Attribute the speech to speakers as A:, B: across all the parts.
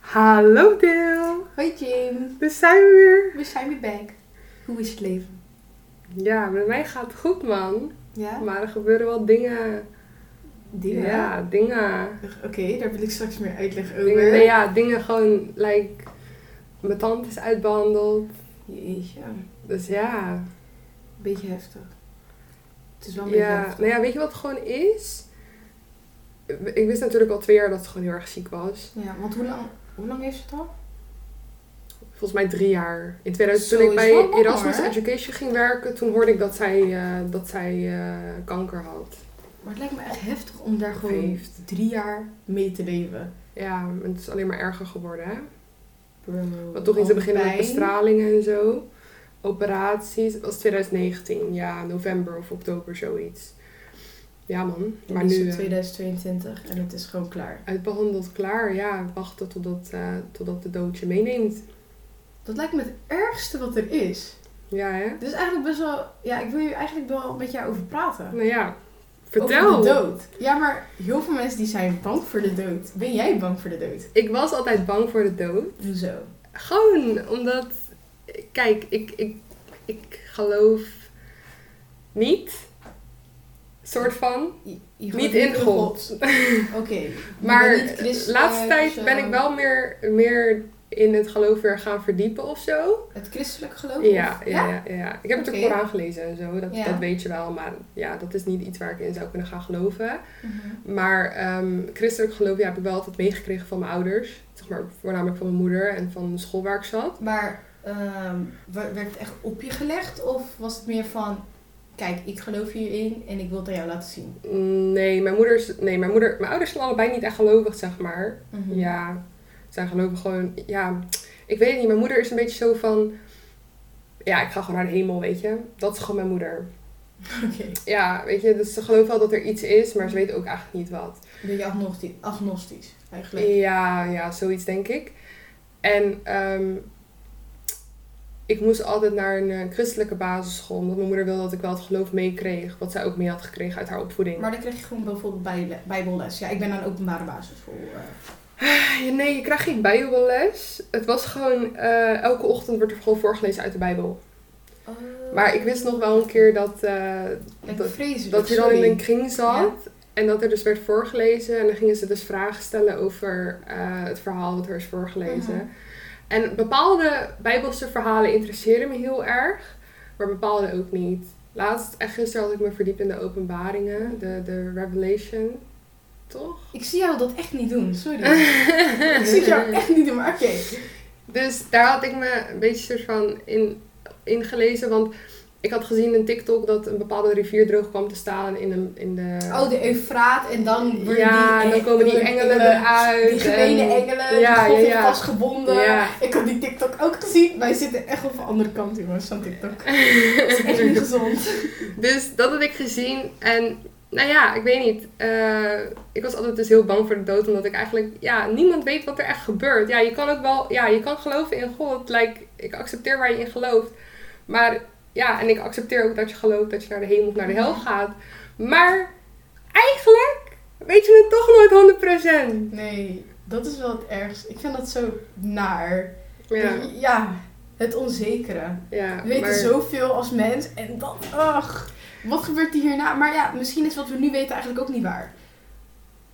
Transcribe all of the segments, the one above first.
A: Hallo Deel,
B: Hoi Jim,
A: daar zijn we weer.
B: we zijn weer back. Hoe is het leven?
A: Ja, met mij gaat het goed man.
B: Ja?
A: Maar er gebeuren wel dingen.
B: Dingen?
A: Ja, dingen.
B: Oké, daar wil ik straks meer uitleg over.
A: dingen nee, ja, dingen gewoon, like, mijn tand is uitbehandeld.
B: Jeetje, een
A: Dus ja.
B: beetje heftig. Het is wel een beetje
A: ja.
B: heftig.
A: Nou ja, weet je wat het gewoon is? Ik wist natuurlijk al twee jaar dat ze gewoon heel erg ziek was.
B: Ja, want hoe lang, hoe lang heeft ze het al?
A: Volgens mij drie jaar. In
B: Zo
A: 2000, toen ik
B: is
A: bij
B: wel lang,
A: Erasmus
B: hoor.
A: Education ging werken, toen hoorde ik dat zij, eh, dat zij eh, kanker had.
B: Maar het lijkt me echt heftig om daar gewoon
A: Heeft.
B: drie jaar mee te leven.
A: Ja, en het is alleen maar erger geworden, hè?
B: Wat
A: Want toch in te beginnen met bestralingen en zo. Operaties. Het was 2019, ja, november of oktober, zoiets. Ja, man. Maar nu eh,
B: 2022 en het is gewoon klaar.
A: uitbehandeld, klaar. Ja, wachten totdat, eh, totdat de dood je meeneemt.
B: Dat lijkt me het ergste wat er is.
A: Ja, hè?
B: Dus eigenlijk best wel... Ja, ik wil hier eigenlijk wel met jou over praten.
A: Nou ja, vertel.
B: Over de dood. Ja, maar heel veel mensen die zijn bang voor de dood. Ben jij bang voor de dood?
A: Ik was altijd bang voor de dood.
B: Hoezo?
A: Gewoon omdat, kijk, ik, ik, ik geloof niet. Soort van.
B: Je,
A: Niet in God.
B: Oké.
A: Maar de
B: eh,
A: laatste tijd ben ik wel meer, meer in het geloof weer gaan verdiepen of zo.
B: Het christelijk geloof?
A: Ja, ja,
B: of-
A: ja, ja. Ik heb het
B: Oké.
A: de Koran gelezen en zo, dat,
B: Ja.
A: dat weet je wel. Maar ja, dat is niet iets waar ik in zou kunnen gaan geloven.
B: Mhm.
A: Maar ehm, christelijk geloof ja, heb ik wel altijd meegekregen van mijn ouders. Zeg maar, voornamelijk van mijn moeder en van de school waar ik zat.
B: Maar ehm, wa- werd het echt op je gelegd? Of was het meer van... Kijk, ik geloof hierin en ik wil het aan jou laten zien.
A: Mm, Nee, mijn, moeder, is- nee mijn, moeder, mijn ouders zijn allebei niet echt gelovig, zeg maar.
B: Mhm.
A: Ja, zij geloven gewoon. Ja, ik weet het niet. Mijn moeder is een beetje zo van. Ja, ik ga gewoon naar de hemel, weet je. Dat is gewoon mijn moeder.
B: Oké.
A: Ja, weet je, dus ze gelooft wel dat er iets is, maar ze weet ook eigenlijk niet wat.
B: Een beetje agnosti- agnostisch, eigenlijk.
A: Ja, ja, zoiets denk ik. En ehm, ik moest altijd naar een eh, christelijke basisschool, omdat mijn moeder wilde dat ik wel het geloof meekreeg, wat zij ook mee had gekregen uit haar opvoeding.
B: Maar dan kreeg je gewoon bijvoorbeeld bij, bijbelles. Ja, ik ben aan een openbare basisschool. eh.
A: Ah, Ja, Nee, je krijgt geen bijbelles. Het was gewoon, eh, elke ochtend wordt er gewoon voorgelezen uit de bijbel. Maar ik wist nog wel een keer dat, eh,
B: Lekker vreselijk.
A: dat je dan in
B: sorry.
A: een kring zat. En dat er dus werd voorgelezen. En dan gingen ze dus vragen stellen over eh, het verhaal dat er is voorgelezen.
B: Mhm.
A: En bepaalde bijbelse verhalen interesseerden me heel erg. Maar bepaalde ook niet. Laatst, echt gisteren had ik me verdiept in de openbaringen. De, de revelation. Toch?
B: Ik zie jou dat echt niet doen, sorry. ik zie jou echt niet doen, maar oké.
A: Dus daar had ik me een beetje soort van in, in gelezen. Want ik had gezien in TikTok dat een bepaalde rivier droog kwam te staan in de... In de
B: Oh, de Eufraat en dan worden
A: ja,
B: die
A: en dan komen die engelen eruit.
B: Die gemene
A: en-
B: engelen,
A: Ja,
B: die
A: ja,
B: God heeft
A: ja.
B: vastgebonden.
A: Ja.
B: Ik had die TikTok ook gezien. Wij zitten echt op de andere kant, jongens, van TikTok. Dat is echt niet gezond.
A: Dus dat had ik gezien. En nou ja, ik weet niet. eh, ik was altijd dus heel bang voor de dood. Omdat ik eigenlijk... Ja, niemand weet wat er echt gebeurt. Ja, je kan ook wel... Ja, je kan geloven in God. Like, ik accepteer waar je in gelooft. Maar ja, en ik accepteer ook dat je gelooft dat je naar de hemel of naar de hel gaat. Maar eigenlijk weet je het toch nooit 100%.
B: Nee, dat is wel het ergste. Ik vind dat zo naar.
A: Ja,
B: ja het onzekere.
A: ja
B: We weten
A: maar-
B: zoveel als mens en dan, ach, wat gebeurt er hierna? Maar ja, misschien is wat we nu weten eigenlijk ook niet waar.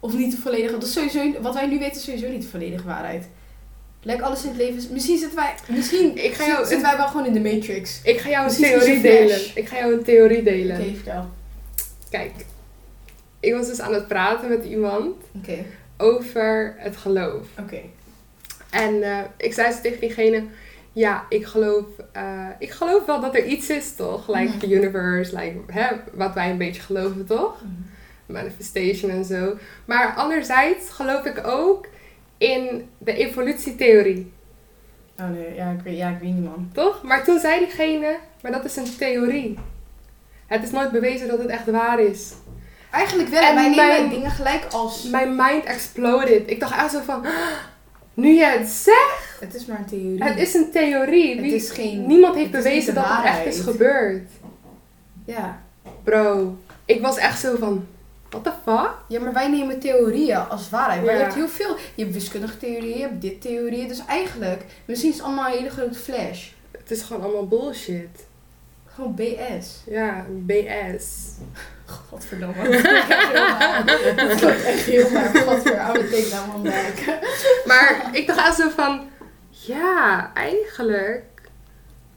B: Of niet de volledige, dat is sowieso, wat wij nu weten is sowieso niet de volledige waarheid. Lijkt alles in het leven, is- misschien zitten wij, misschien
A: Ik ga
B: zit-
A: jou-
B: zitten wij wel gewoon in de matrix.
A: Ik ga jou een
B: Misschien is
A: theorie
B: het een
A: delen.
B: flash.
A: Ik ga jou een theorie delen.
B: Oké, vertel.
A: Kijk, ik was dus aan het praten met iemand
B: Oké,
A: over het geloof.
B: oké.
A: En eh, ik zei ze tegen diegene, ja, ik geloof, eh, ik geloof wel dat er iets is, toch? Like
B: Mhm.
A: the universe, like, hè, wat wij een beetje geloven, toch? manifestation en zo. Maar anderzijds geloof ik ook in de evolutietheorie,
B: Oh nee, ja ik, weet, ja, ik weet niet man.
A: toch? Maar toen zei diegene, maar dat is een theorie. Het is nooit bewezen dat het echt waar is.
B: Eigenlijk wel,
A: En
B: wij nemen
A: mijn-
B: dingen gelijk als...
A: Mijn mind exploded. Ik dacht echt zo van, nu jij het zegt,
B: Het is maar een theorie.
A: het is een theorie.
B: Het
A: Wie-
B: is geen-
A: niemand heeft
B: het is
A: bewezen
B: niet de
A: dat het echt
B: waarheid.
A: is gebeurd.
B: Ja.
A: Bro, ik was echt zo van, what the fuck?
B: Ja, maar wij nemen theorieën als waarheid. Maar je
A: Ja.
B: hebt heel veel. Je hebt wiskundige theorieën, je hebt dit theorieën. Dus eigenlijk, misschien is het allemaal een hele grote flash.
A: Het is gewoon allemaal bullshit.
B: Gewoon BS.
A: Ja, BS.
B: Godverdomme. Dat klinkt echt heel raar. Dat klinkt echt heel raar. Godver, oude take down man back.
A: Maar ik dacht aan zo van, ja, eigenlijk.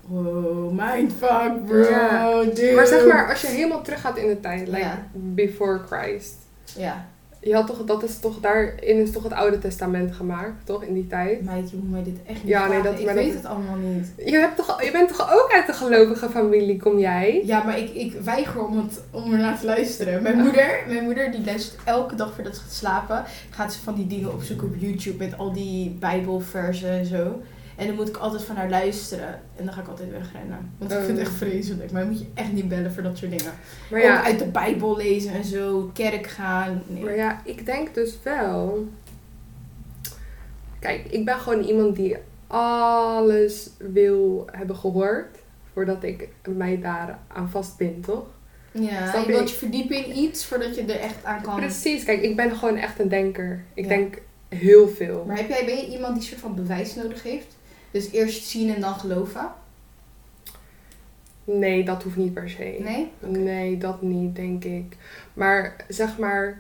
B: Wow, mindfuck bro,
A: Ja.
B: dude.
A: Maar zeg maar, als je helemaal teruggaat in de tijd, like
B: Ja.
A: before Christ.
B: Ja,
A: Je had toch, dat is toch, daarin is toch het Oude Testament gemaakt, toch, in die tijd?
B: meid, je moet mij dit echt niet
A: Ja, nee,
B: vragen.
A: dat-
B: Ik
A: maar dat-
B: weet het allemaal niet.
A: Je, hebt toch, je bent toch ook uit de gelovige familie, kom jij?
B: Ja, maar ik, ik weiger om, het, om ernaar te luisteren. Mijn moeder, mijn moeder die luistert elke dag voordat ze gaat slapen. Gaat ze van die dingen opzoeken op YouTube met al die bijbelversen en zo. En dan moet ik altijd van haar luisteren. En dan ga ik altijd wegrennen. Want ik
A: Oh.
B: vind het echt vreselijk. Maar dan moet je echt niet bellen voor dat soort dingen.
A: Maar
B: Ook
A: ja,
B: uit de bijbel lezen en zo. Kerk gaan. Nee.
A: maar ja, ik denk dus wel. Kijk, ik ben gewoon iemand die alles wil hebben gehoord voordat ik mij daar aan vastbind, toch?
B: Ja,
A: Snap
B: je
A: je?
B: wilt je verdiepen in iets voordat je er echt aan kan.
A: Precies, kijk, ik ben gewoon echt een denker. Ik
B: Ah. Ja.
A: denk heel veel.
B: Maar heb jij, ben je iemand die soort van bewijs nodig heeft? Dus eerst zien en dan geloven?
A: Nee, dat hoeft niet per se.
B: Nee?
A: Nee, dat niet, denk ik. Maar zeg maar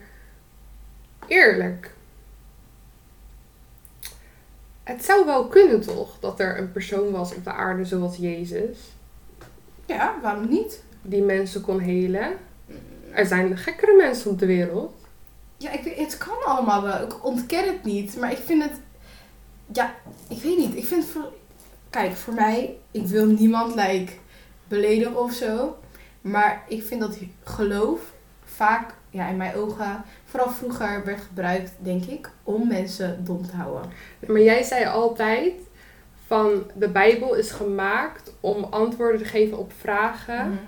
A: eerlijk. Het zou wel kunnen toch dat er een persoon was op de aarde zoals Jezus
B: Ja, waarom niet?
A: die mensen kon helen. Er zijn gekkere mensen op de wereld.
B: Ja, ik weet, het kan allemaal wel. Ik ontken het niet. Maar ik vind het... Ja, ik weet niet. Ik vind voor... Kijk, voor mij... Ik wil niemand, like, beledigen of zo. Maar ik vind dat geloof vaak, ja, in mijn ogen... Vooral vroeger werd gebruikt, denk ik, om mensen dom te houden.
A: Maar jij zei altijd van de Bijbel is gemaakt om antwoorden te geven op
B: Mm.
A: vragen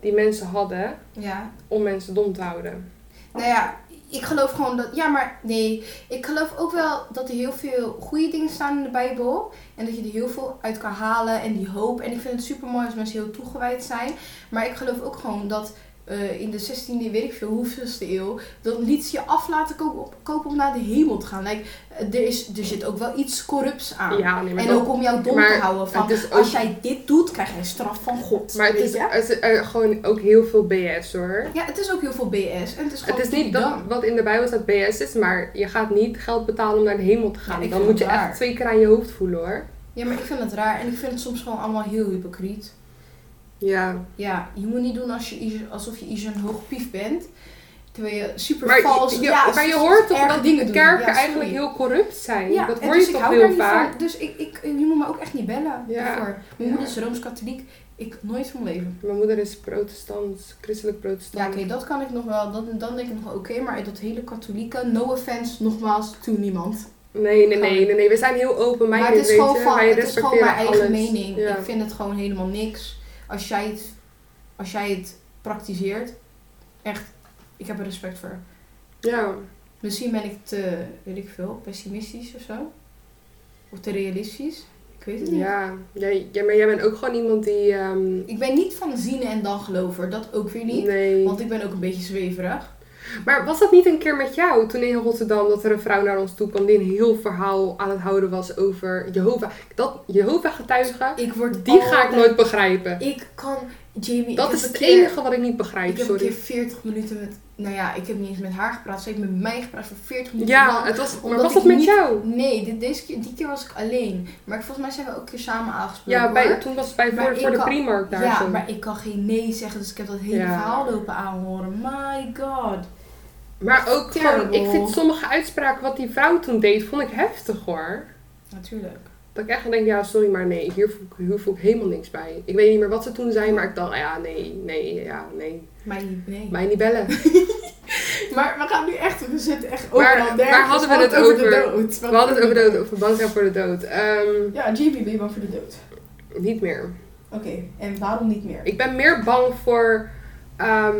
A: die mensen hadden
B: Mhm. Ja.
A: om mensen dom te houden.
B: Nou ja, ik geloof gewoon dat... Ja, maar nee. Ik geloof ook wel dat er heel veel goede dingen staan in de Bijbel. En dat je er heel veel uit kan halen. En die hoop. En ik vind het super mooi als mensen heel toegewijd zijn. Maar ik geloof ook gewoon dat... eh, in de 16e, weet ik veel, hoeveelste eeuw. Dan liet ze je af laten kopen, op- kopen om naar de hemel te gaan. Like, eh, er, is, er zit ook wel iets corrupts aan.
A: Ja, nee, maar
B: en
A: dat-
B: ook om jou dom te
A: maar
B: houden. Van,
A: het is ook-
B: als jij dit doet, krijg jij straf van God.
A: Maar het
B: weet
A: is,
B: je?
A: het is eh, gewoon ook heel veel BS hoor.
B: Ja, het is ook heel veel BS. En het is gewoon
A: Het is niet
B: dom.
A: dat wat in de Bijbel staat BS is, maar je gaat niet geld betalen om naar de hemel te gaan.
B: Ja, ik
A: Dan
B: vind
A: moet je
B: het waar.
A: echt twee keer aan je hoofd voelen hoor.
B: Ja, maar ik vind het raar en ik vind het soms gewoon allemaal heel hypocriet.
A: Ja.
B: Ja, je moet niet doen als je, iets- alsof je iets een hoog pief bent. Terwijl je super
A: Maar
B: vals...
A: je,
B: ja,
A: maar je
B: soms
A: hoort toch
B: erge
A: dat
B: dingen
A: de
B: doen.
A: kerken
B: Ja,
A: eigenlijk
B: sorry.
A: heel corrupt zijn?
B: Ja,
A: dat
B: en
A: hoor
B: dus
A: je
B: ik
A: toch
B: hou
A: heel
B: daar niet
A: vaak?
B: Van, dus ik, ik, je moet me ook echt niet bellen
A: Ja.
B: daarvoor.
A: Ja.
B: Mijn moeder is Rooms-Katholiek. Ik nooit van mijn leven.
A: Mijn moeder is protestant, christelijk protestant.
B: Ja, oké, dat kan ik nog wel. Dat, dan denk ik nog wel oké. maar dat hele katholieke, no offense, nogmaals, toen niemand.
A: nee, nee, nee, nee, nee, we zijn heel open
B: Maar het is gewoon van,
A: wij
B: het is gewoon mijn eigen
A: alles.
B: mening.
A: Ja.
B: Ik vind het gewoon helemaal niks. Als jij het, als jij het praktiseert, echt, ik heb er respect voor.
A: ja.
B: Misschien ben ik te, weet ik veel, pessimistisch of zo. Of te realistisch. Ik weet het niet.
A: Ja. Jij, jij, maar jij bent ook gewoon iemand die... ehm,
B: Ik ben niet van zien en dan geloven. Dat ook weer niet.
A: nee.
B: Want ik ben ook een beetje zweverig.
A: Maar was dat niet een keer met jou toen in Rotterdam dat er een vrouw naar ons toe kwam die een heel verhaal aan het houden was over Jehovah? Dat Jehovah getuigen,
B: Ik word
A: die ga ik
B: altijd-
A: nooit begrijpen.
B: Oh, Ik kan, Jamie. ik
A: Dat
B: heb
A: is
B: een
A: het
B: keer-
A: enige wat ik niet
B: Ik
A: begrijp,
B: heb een keer
A: sorry.
B: 40 minuten met, nou ja, ik heb niet eens met haar gepraat. Ze heeft met mij gepraat voor 40 minuten. lang.
A: Ja, het was, maar
B: Omdat
A: was
B: ik
A: dat met
B: niet-
A: jou?
B: Nee, dit, deze keer, die keer was ik alleen. Maar ik- volgens mij zijn we ook een keer samen aangesproken.
A: Ja, bij,
B: hoor.
A: toen was het bij
B: Maar
A: voor,
B: ik
A: voor de
B: kan-
A: Primark daar
B: ja
A: zo.
B: maar ik kan geen nee zeggen, dus ik heb dat hele
A: Ja.
B: verhaal lopen aanhoren. My god.
A: Maar ook gewoon,
B: Terrible.
A: ik vind sommige uitspraken wat die vrouw toen deed, vond ik heftig hoor.
B: Natuurlijk.
A: Dat ik echt denk, ja sorry, maar nee, hier voel, ik, hier voel ik helemaal niks bij. Ik weet niet meer wat ze toen zei, maar ik dacht, ja nee, nee, ja nee.
B: Maar niet nee.
A: Mij niet bellen.
B: Maar we gaan nu echt, we zitten echt
A: Waar- overal waar nergens. hadden We we hadden het het over?
B: dood.
A: We hadden het over dood, over bang zijn voor de dood. Ehm,
B: Ja, JB, ben je bang voor de dood?
A: niet meer.
B: Oké, en waarom niet meer?
A: Ik ben meer bang voor ehm,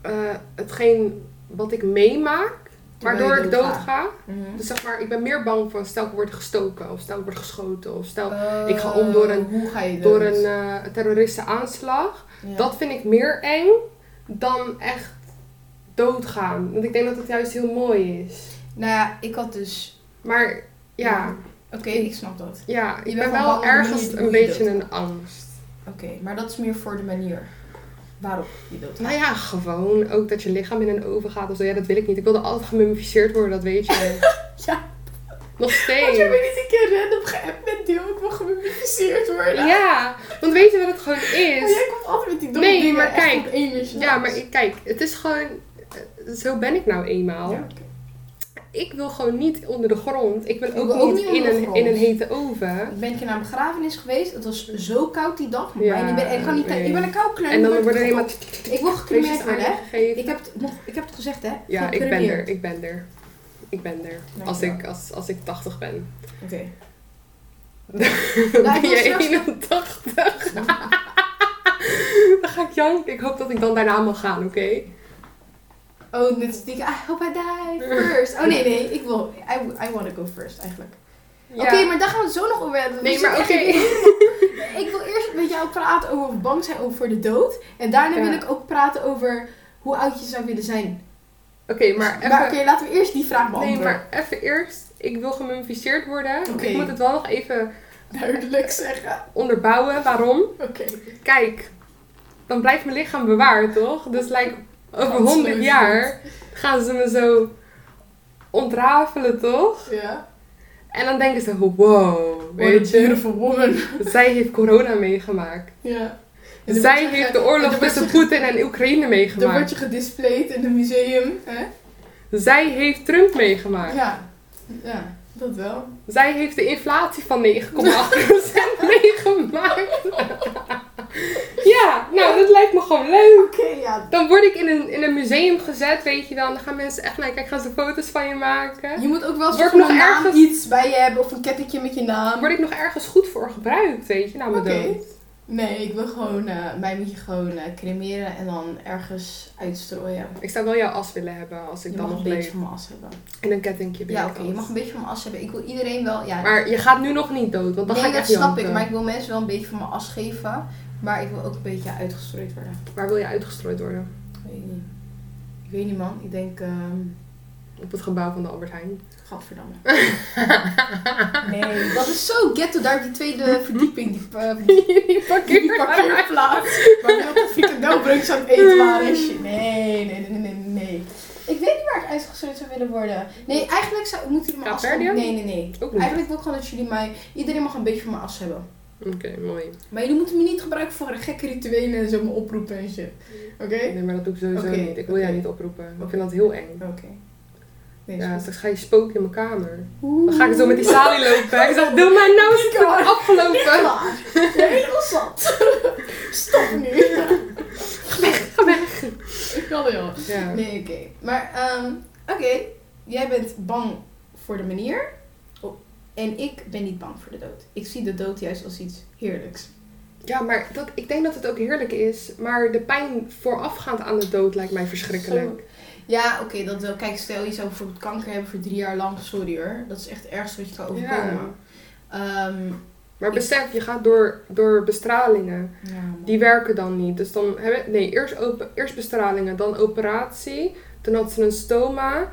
A: eh, hetgeen wat ik meemaak, waardoor ik doodga.
B: Mhm.
A: Dus zeg maar, ik ben meer bang voor stel ik word gestoken of stel ik word geschoten of stel
B: Oh,
A: ik ga om door een-
B: Hoe ga je
A: door
B: dood?
A: een eh terroristen aanslag.
B: Ja.
A: Dat vind ik meer eng dan echt doodgaan. Want ik denk dat het juist heel mooi is.
B: Nou ja, ik had dus...
A: Maar ja,
B: Oké, ik snap dat.
A: ja
B: Je
A: ik
B: bent
A: ben
B: van
A: wel
B: bang om
A: ergens
B: niet
A: een
B: hoe je
A: beetje een angst.
B: Oké, maar dat is meer voor de manier waarop je doodgaat.
A: Nou ja, gewoon ook dat je lichaam in een oven gaat of zo. Ja, dat wil ik niet. Ik wilde altijd gemummificeerd worden, dat weet je.
B: Ja.
A: Nog
B: Had
A: steeds.
B: je me niet een keer random geappt met deel, ik wil gemummificeerd worden.
A: Ja, want weet je wat het gewoon
B: Maar
A: is?
B: Oh, jij komt altijd met die domme
A: Nee,
B: dingen
A: maar
B: echt
A: kijk.
B: op één uur s'nachts.
A: Ja, maar ik, kijk, het is gewoon... eh, Zo ben ik nou eenmaal.
B: Ja, oké.
A: Ik wil gewoon niet onder de grond. Ik wil
B: Ik
A: ook,
B: wil ook
A: niet
B: niet
A: in
B: onder de
A: een,
B: grond.
A: in een hete oven.
B: Ik ben een keer naar een begrafenis geweest. Het was zo koud die dag. Maar
A: Ja,
B: bijna- ik, ben, ik, kan niet,
A: nee.
B: ik ben een koukleun.
A: En
B: ik
A: dan
B: word
A: worden er
B: gedood.
A: helemaal...
B: Ik wil
A: Kruisjes
B: gecremeerd worden, hè?
A: aangegeven.
B: Ik heb, het nog, ik heb het gezegd, hè?
A: Ja, ik ben
B: Gecremeerd.
A: er. Ik ben er. Ik ben er. Als
B: Dankjewel.
A: ik, als, als ik 80 ben.
B: Oké.
A: ben
B: wil
A: je
B: straks-
A: 81? dan ga ik janken. Ik hoop dat ik dan daarna mag gaan, oké?
B: Oh, net als die... I hope I die first. Oh, nee, nee. Ik wil... I, I want to go first, eigenlijk.
A: Ja.
B: Oké, maar daar gaan we het zo nog over hebben. We
A: Nee, maar oké.
B: zitten echt- Ik wil eerst met jou praten over bang zijn over de dood. En daarna
A: Ja.
B: wil ik ook praten over hoe oud je zou willen zijn.
A: Oké, maar even...
B: Maar oké, laten we eerst die vraag
A: Nee,
B: beantwoorden.
A: maar even eerst. Ik wil gemummificeerd worden.
B: Oké.
A: Ik moet het wel nog even
B: Duidelijk zeggen.
A: onderbouwen. Waarom?
B: Oké.
A: Kijk, dan blijft mijn lichaam bewaard, toch? Dus like, over
B: Kansloos
A: 100
B: niet.
A: jaar gaan ze me zo ontrafelen, toch?
B: Ja.
A: En dan denken ze, wow, weet
B: Weet
A: je,
B: beautiful woman.
A: zij heeft corona meegemaakt.
B: Ja. En Dus dan
A: Zij
B: word je
A: heeft
B: ge-
A: de
B: en
A: oorlog
B: dan
A: tussen
B: word je ge-
A: Poetin en Oekraïne
B: Dan word
A: meegemaakt.
B: je gedisplayed in een museum. Hè?
A: Zij heeft Trump meegemaakt.
B: Ja. Ja, dat wel.
A: Zij heeft de inflatie van 9,8% meegemaakt. ja, nou, dat lijkt me gewoon leuk.
B: Oké, ja.
A: Dan word ik in een, in een museum gezet, weet je wel. En dan gaan mensen echt naar je kijken, gaan ze foto's van je maken.
B: Je moet ook wel
A: Word ik
B: soort van
A: nog
B: een naam
A: ergens-
B: iets bij je hebben of een kettetje met je naam.
A: Dan word ik nog ergens goed voor gebruikt, weet je, Nou, na mijn
B: Oké.
A: dood.
B: Nee, ik wil gewoon, eh, mij moet je gewoon eh, cremeren en dan ergens uitstrooien.
A: Ik zou wel jouw as willen hebben als ik
B: je
A: dan
B: mag
A: nog
B: een beetje
A: leef.
B: van mijn as hebben.
A: En een kettingje
B: Ja, oké,
A: binnenkant.
B: je mag een beetje van mijn as hebben. Ik wil iedereen wel, ja.
A: Maar je gaat nu nog niet dood, want dan
B: nee,
A: ga ik
B: dat
A: echt
B: snap
A: janken.
B: ik, maar ik wil mensen wel een beetje van mijn as geven. Maar ik wil ook een beetje uitgestrooid worden.
A: Waar wil je uitgestrooid worden?
B: Ik weet niet. Ik weet niet, man. Ik denk, ehm
A: Op het gebouw van de Albert Heijn.
B: gadverdamme. nee, dat is zo ghetto daar, op die tweede verdieping, die, eh,
A: Die
B: die parkeerplaats. Waar heel veel frikandelbroodjes aan het eten waren en shit. Nee, nee, nee, nee, nee, nee. Mm. Ik weet niet waar ik uitgestuurd zou willen worden. Nee, eigenlijk zou, moeten jullie mijn as
A: Kaapverdië?
B: hebben. Nee, nee, nee.
A: Ook niet.
B: Eigenlijk wil ik gewoon dat jullie mij... Iedereen mag een beetje van mijn as hebben.
A: Oké, mooi.
B: Maar jullie moeten me niet gebruiken voor gekke rituelen en zo me oproepen en shit. Oké?
A: Nee, maar dat doe ik sowieso
B: Oké,
A: niet. Ik wil
B: oké.
A: jij niet oproepen. Ik
B: Oké.
A: vind dat heel eng.
B: Oké. Nee, is
A: Ja,
B: goed.
A: straks ga je spoken in mijn kamer.
B: Oeh.
A: Dan ga ik zo met die salie lopen. Ik zeg, doe mij nou eens
B: Nico.
A: afgelopen.
B: Klaar. Ik ben helemaal zat. Stop nu.
A: Ga weg.
B: Ik kan heel.
A: Ja.
B: Nee, oké. Maar, ehm, oké. Jij bent bang voor de manier. Oh, En ik ben niet bang voor de dood. Ik zie de dood juist als iets heerlijks.
A: ja, maar dat, ik denk dat het ook heerlijk is. Maar de pijn voorafgaand aan de dood lijkt mij verschrikkelijk.
B: Ja, oké, dat wel. Kijk, stel je zou bijvoorbeeld kanker hebben voor drie jaar lang. Sorry hoor. Dat is echt het ergste wat je kan overkomen. Ehm,
A: Maar besef, je gaat door, door bestralingen.
B: ja, man.
A: Die werken dan niet. Dus dan hebben nee, eerst, op- eerst bestralingen, dan operatie. Toen had ze een stoma.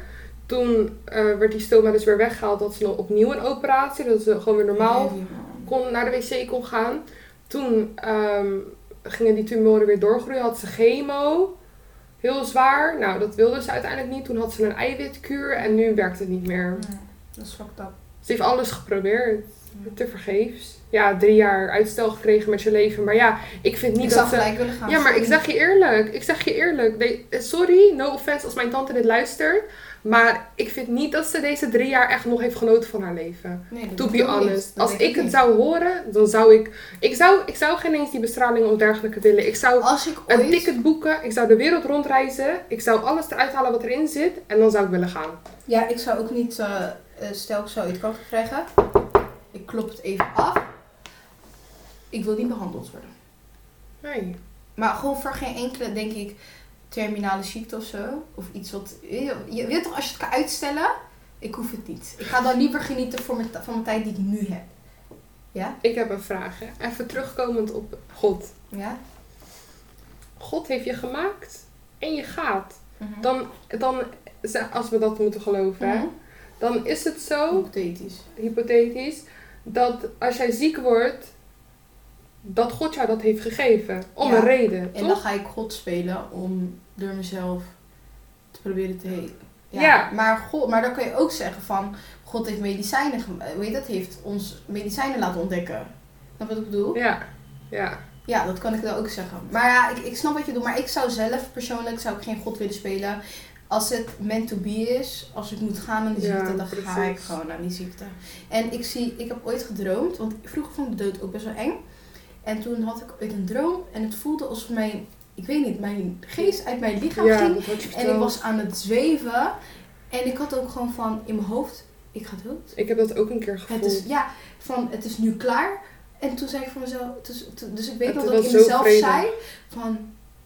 A: Toen eh, werd die stoma dus weer weggehaald. Dat ze dan opnieuw een operatie. Dat ze gewoon weer normaal
B: Heavy, man.
A: kon, naar de wc kon gaan. Toen ehm, gingen die tumoren weer doorgroeien. Had ze chemo. Heel zwaar. Nou, dat wilde ze uiteindelijk niet. Toen had ze een eiwitkuur en nu werkt het niet meer.
B: Ja, dat is fucked up.
A: Ze heeft alles geprobeerd.
B: Ja.
A: Te vergeefs. Ja, drie jaar uitstel gekregen met je leven. Maar ja, ik vind niet
B: ik
A: dat
B: zou
A: ze...
B: gelijk willen gaan.
A: Ja, maar ik
B: sorry.
A: zeg je eerlijk. Ik zeg je eerlijk. De- eh, sorry, no offense als mijn tante dit luistert. Maar ik vind niet dat ze deze drie jaar echt nog heeft genoten van haar leven.
B: Nee, dat
A: To
B: denk
A: be
B: ik niet.
A: honest.
B: Dat
A: Als
B: denk
A: ik het
B: niet.
A: zou horen, dan zou ik... Ik zou, ik zou geen eens die bestraling of dergelijke willen. Ik zou
B: Als ik
A: een
B: ooit...
A: ticket boeken. Ik zou de wereld rondreizen. Ik zou alles eruit halen wat erin zit. En dan zou ik willen gaan.
B: Ja, ik zou ook niet, eh, eh, stel ik zou iets kanker krijgen. Ik klop het even af. Ik wil niet behandeld worden.
A: Nee.
B: Maar gewoon voor geen enkele, denk ik, terminale ziekte of zo. Of iets wat. Je, je weet toch, als je het kan uitstellen, ik hoef het niet. Ik ga dan liever genieten voor mijn, van mijn tijd die ik nu heb. Ja?
A: Ik heb een vraag. Hè. Even terugkomend op God.
B: Ja?
A: God heeft je gemaakt en je gaat.
C: Mhm.
A: dan, dan zeg- als we dat moeten geloven, hè,
C: Mhm.
A: dan is het zo,
B: Hypothetisch.
A: hypothetisch, dat als jij ziek wordt, dat God jou dat heeft gegeven. Om
B: Ja.
A: een reden,
B: En
A: toch?
B: dan ga ik God spelen om door mezelf te proberen te helen.
A: Ja.
B: Maar, God, maar dan kun je ook zeggen van, God heeft medicijnen, gem- eh, weet je dat, heeft ons medicijnen laten ontdekken. Snap je wat ik bedoel?
A: Ja, ja.
B: Ja, dat kan ik dan ook zeggen. Maar ja, ik, ik snap wat je doet, maar ik zou zelf persoonlijk zou ik geen God willen spelen. Als het meant to be is, als ik moet gaan aan die
A: Ja,
B: ziekte, dan ga ik
A: precies.
B: gewoon aan die ziekte. En ik zie, ik heb ooit gedroomd, want vroeger vond ik de dood ook best wel eng. En toen had ik ooit een droom en het voelde alsof mijn, ik weet niet, mijn geest uit mijn lichaam
A: ja,
B: ging.
A: dat wordt je
B: Nou, En ik
A: verteld.
B: was aan het zweven. En ik had ook gewoon van in mijn hoofd, ik ga dood.
A: Ik heb dat ook een keer
B: Het
A: gevoeld.
B: is, ja, van het is nu klaar. En toen zei ik voor mezelf, het is- toen- dus ik weet
A: Het
B: nog dat
A: was
B: ik in
A: zo
B: mezelf
A: vredig.
B: zei van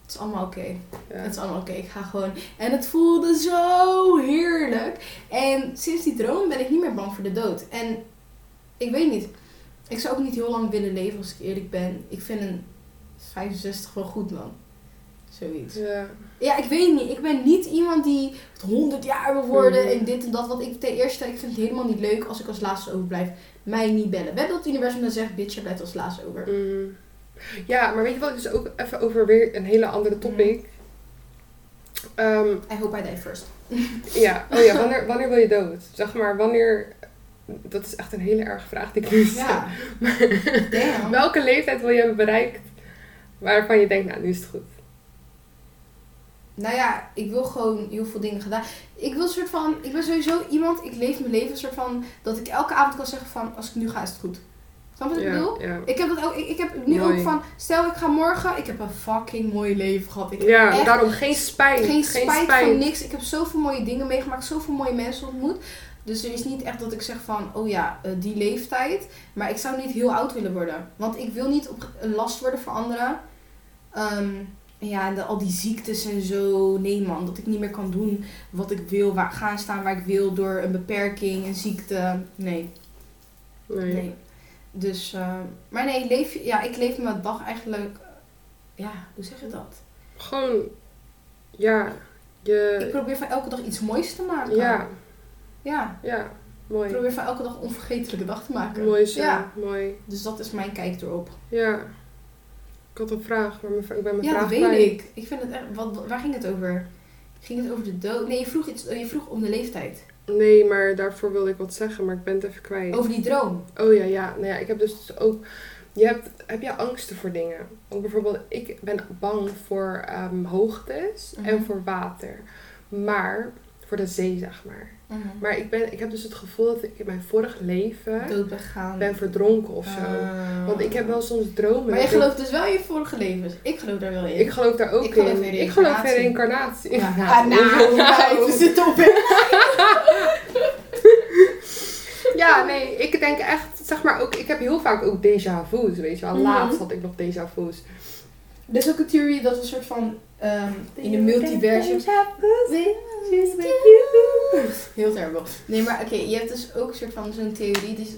B: het is allemaal oké.
A: Ja.
B: Het is allemaal oké, ik ga gewoon. En het voelde zo heerlijk. En sinds die droom ben ik niet meer bang voor de dood. En ik weet niet, ik zou ook niet heel lang willen leven als ik eerlijk ben. Ik vind een 65 wel goed man. Zoiets.
A: Ja.
B: Ja, ik weet niet. Ik ben niet iemand die 100 jaar wil worden
A: Mhm.
B: en dit en dat. Want ik ten eerste, ik vind het helemaal niet leuk als ik als laatste overblijf. Mij niet bellen. Wet dat het universum dan zegt, bitch, je blijft als laatste over.
A: Mm. Ja, maar weet je wat? Dus ook even over weer een hele andere
B: Mm.
A: topic. Ehm,
B: I hope I die first.
A: ja, oh ja, wanneer, wanneer wil je dood? Zeg maar, wanneer... Dat is echt een hele erge vraag die ik nu stel.
B: Ja. Damn.
A: Welke leeftijd wil je hebben bereikt waarvan je denkt, nou, nu is het goed?
B: Nou ja, ik wil gewoon heel veel dingen gedaan. Ik wil een soort van, ik ben sowieso iemand, ik leef mijn leven een soort van, dat ik elke avond kan zeggen van, als ik nu ga is het goed. Snap je wat ik bedoel?
A: ja, ja.
B: Ik heb, dat ook, ik, ik heb nu
A: Mooi.
B: ook van, stel ik ga morgen, ik heb een fucking mooi leven gehad. Ik heb
A: Ja,
B: echt
A: daarom geen spijt.
B: geen spijt, van niks. Ik heb zoveel mooie dingen meegemaakt, zoveel mooie mensen ontmoet. Dus er is niet echt dat ik zeg van, oh ja, eh, die leeftijd. Maar ik zou niet heel oud willen worden. Want ik wil niet op een last worden voor anderen. Ehm, ja, en de- al die ziektes en zo. Nee man, dat ik niet meer kan doen wat ik wil. Waar, gaan staan waar ik wil door een beperking, een ziekte. Nee,
A: Nee.
B: nee. Dus, ehm, maar nee, leef, je- ja, ik leef mijn dag eigenlijk... Ja, hoe zeg je dat?
A: Gewoon, ja, je...
B: Ik probeer van elke dag iets moois te maken.
A: ja,
B: Ja,
A: ja,
B: ik
A: mooi.
B: probeer van elke dag een onvergetelijke dag te maken.
A: Mooi zo,
B: Ja.
A: mooi.
B: Dus dat is mijn kijk erop.
A: Ja. Ik had een vraag, maar mijn, vra- ik ben mijn
B: ja,
A: vraag
B: dat weet
A: kwijt.
B: ik. Ik vind het echt... Wat, waar ging het over? Ging het over de dood? Nee, je vroeg, iets, je vroeg om de leeftijd.
A: Nee, maar daarvoor wilde ik wat zeggen, maar ik ben het even kwijt.
B: Over die droom.
A: Oh ja, ja. Nou ja, ik heb dus ook... Je hebt, heb je angsten voor dingen? Want bijvoorbeeld, ik ben bang voor ehm, hoogtes en
B: Mhm.
A: voor water. Maar, voor de zee zeg maar.
B: Mhm.
A: Maar ik, ben, ik heb dus het gevoel dat ik in mijn vorig leven
B: Dood begaan.
A: ben verdronken of zo.
B: Ah.
A: Want ik heb wel soms dromen.
B: Maar je
A: dat ik-
B: gelooft dus wel in je vorige levens. Ik geloof daar wel in.
A: Ik geloof daar ook
B: Ik geloof
A: in.
B: in
A: ik geloof in
B: reïncarnatie.
A: reïncarnatie.
B: Ja. Ah, nou, meid, we zitten op in.
A: Ja, nee, ik denk echt, zeg maar ook, ik heb heel vaak ook déjà vu's, weet je wel.
B: Mhm.
A: Laatst had ik nog déjà vu's.
B: Er is ook een theorie dat we een soort van... ehm, in een multiversum... Heel terrible. Nee, maar oké, je hebt dus ook een soort van zo'n theorie die, is-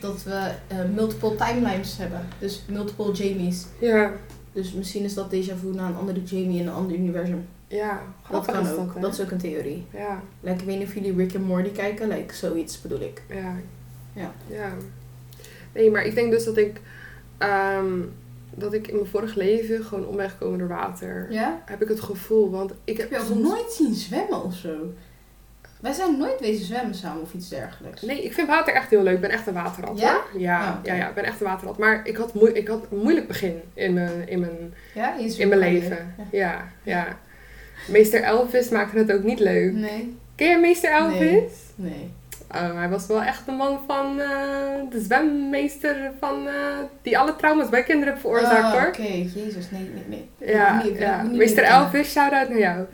B: dat we eh, multiple timelines hebben. Dus multiple Jamies.
A: Ja,
B: Dus misschien is dat déjà vu na een andere Jamie in een ander universum.
A: ja,
B: Dat
A: grappig
B: kan
A: Oh, is
B: ook.
A: hè?
B: Dat, is ook een theorie.
A: Ja,
B: Like, ik weet niet of jullie Rick en Morty kijken, like, zoiets bedoel ik.
A: ja.
B: Ja.
A: Ja. Nee, maar ik denk dus dat ik, ehm, dat ik in mijn vorig leven gewoon om ben gekomen door water.
B: Ja?
A: Heb ik het gevoel, want ik
B: Ik
A: heb
B: heb jou
A: soms-
B: nooit zien zwemmen of zo. Wij zijn nooit wezen zwemmen samen of iets dergelijks.
A: Nee, ik vind water echt heel leuk. Ik ben echt een waterrat.
B: Ja?
A: hoor. Ja,
B: Ah, oké.
A: ja, ja, ik ben echt een waterrat. Maar ik had, moe- ik had een moeilijk begin in mijn, in mijn
B: Ja? je
A: In mijn
B: zwemt alleen.
A: leven. Ja, ja. Meester Elvis maakte het ook niet leuk.
B: Nee.
A: Ken je Meester Elvis?
B: Hm. Nee. Nee.
A: Oh, hij was wel echt de man van eh, de zwemmeester van, eh, die alle trauma's bij kinderen heeft veroorzaakt
B: Ah,
A: hoor.
B: Oké, jezus, nee, nee, nee.
A: Ja,
B: Nee, ik wil
A: ja.
B: niet
A: Meester
B: meer
A: Elvis, shout-out naar jou.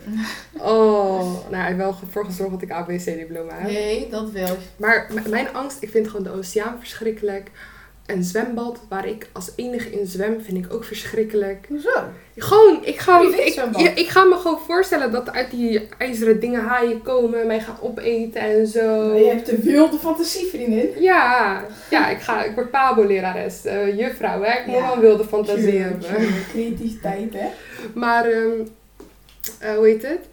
A: Oh, nou hij heeft wel ervoor gezorgd dat ik ABC-diploma heb.
B: Nee, dat wel.
A: Maar m- mijn angst, ik vind gewoon de oceaan verschrikkelijk. Een zwembad waar ik als enige in zwem, vind ik ook verschrikkelijk.
B: Hoezo?
A: Gewoon, ik ga, ik,
B: Privézwembad.
A: ja, ik ga me gewoon voorstellen dat uit die ijzeren dingen haaien komen en mij gaan opeten en zo.
B: Eh, Je hebt een wilde fantasie, vriendin.
A: Ja, ja ik, ga, ik word pabo-lerares, eh, juffrouw, hè? ik moet
B: Ja.
A: wel een wilde fantasie
B: Tuurlijk,
A: hebben.
B: tuurlijk. Creativiteit, hè?
A: Maar, ehm, eh, hoe heet het?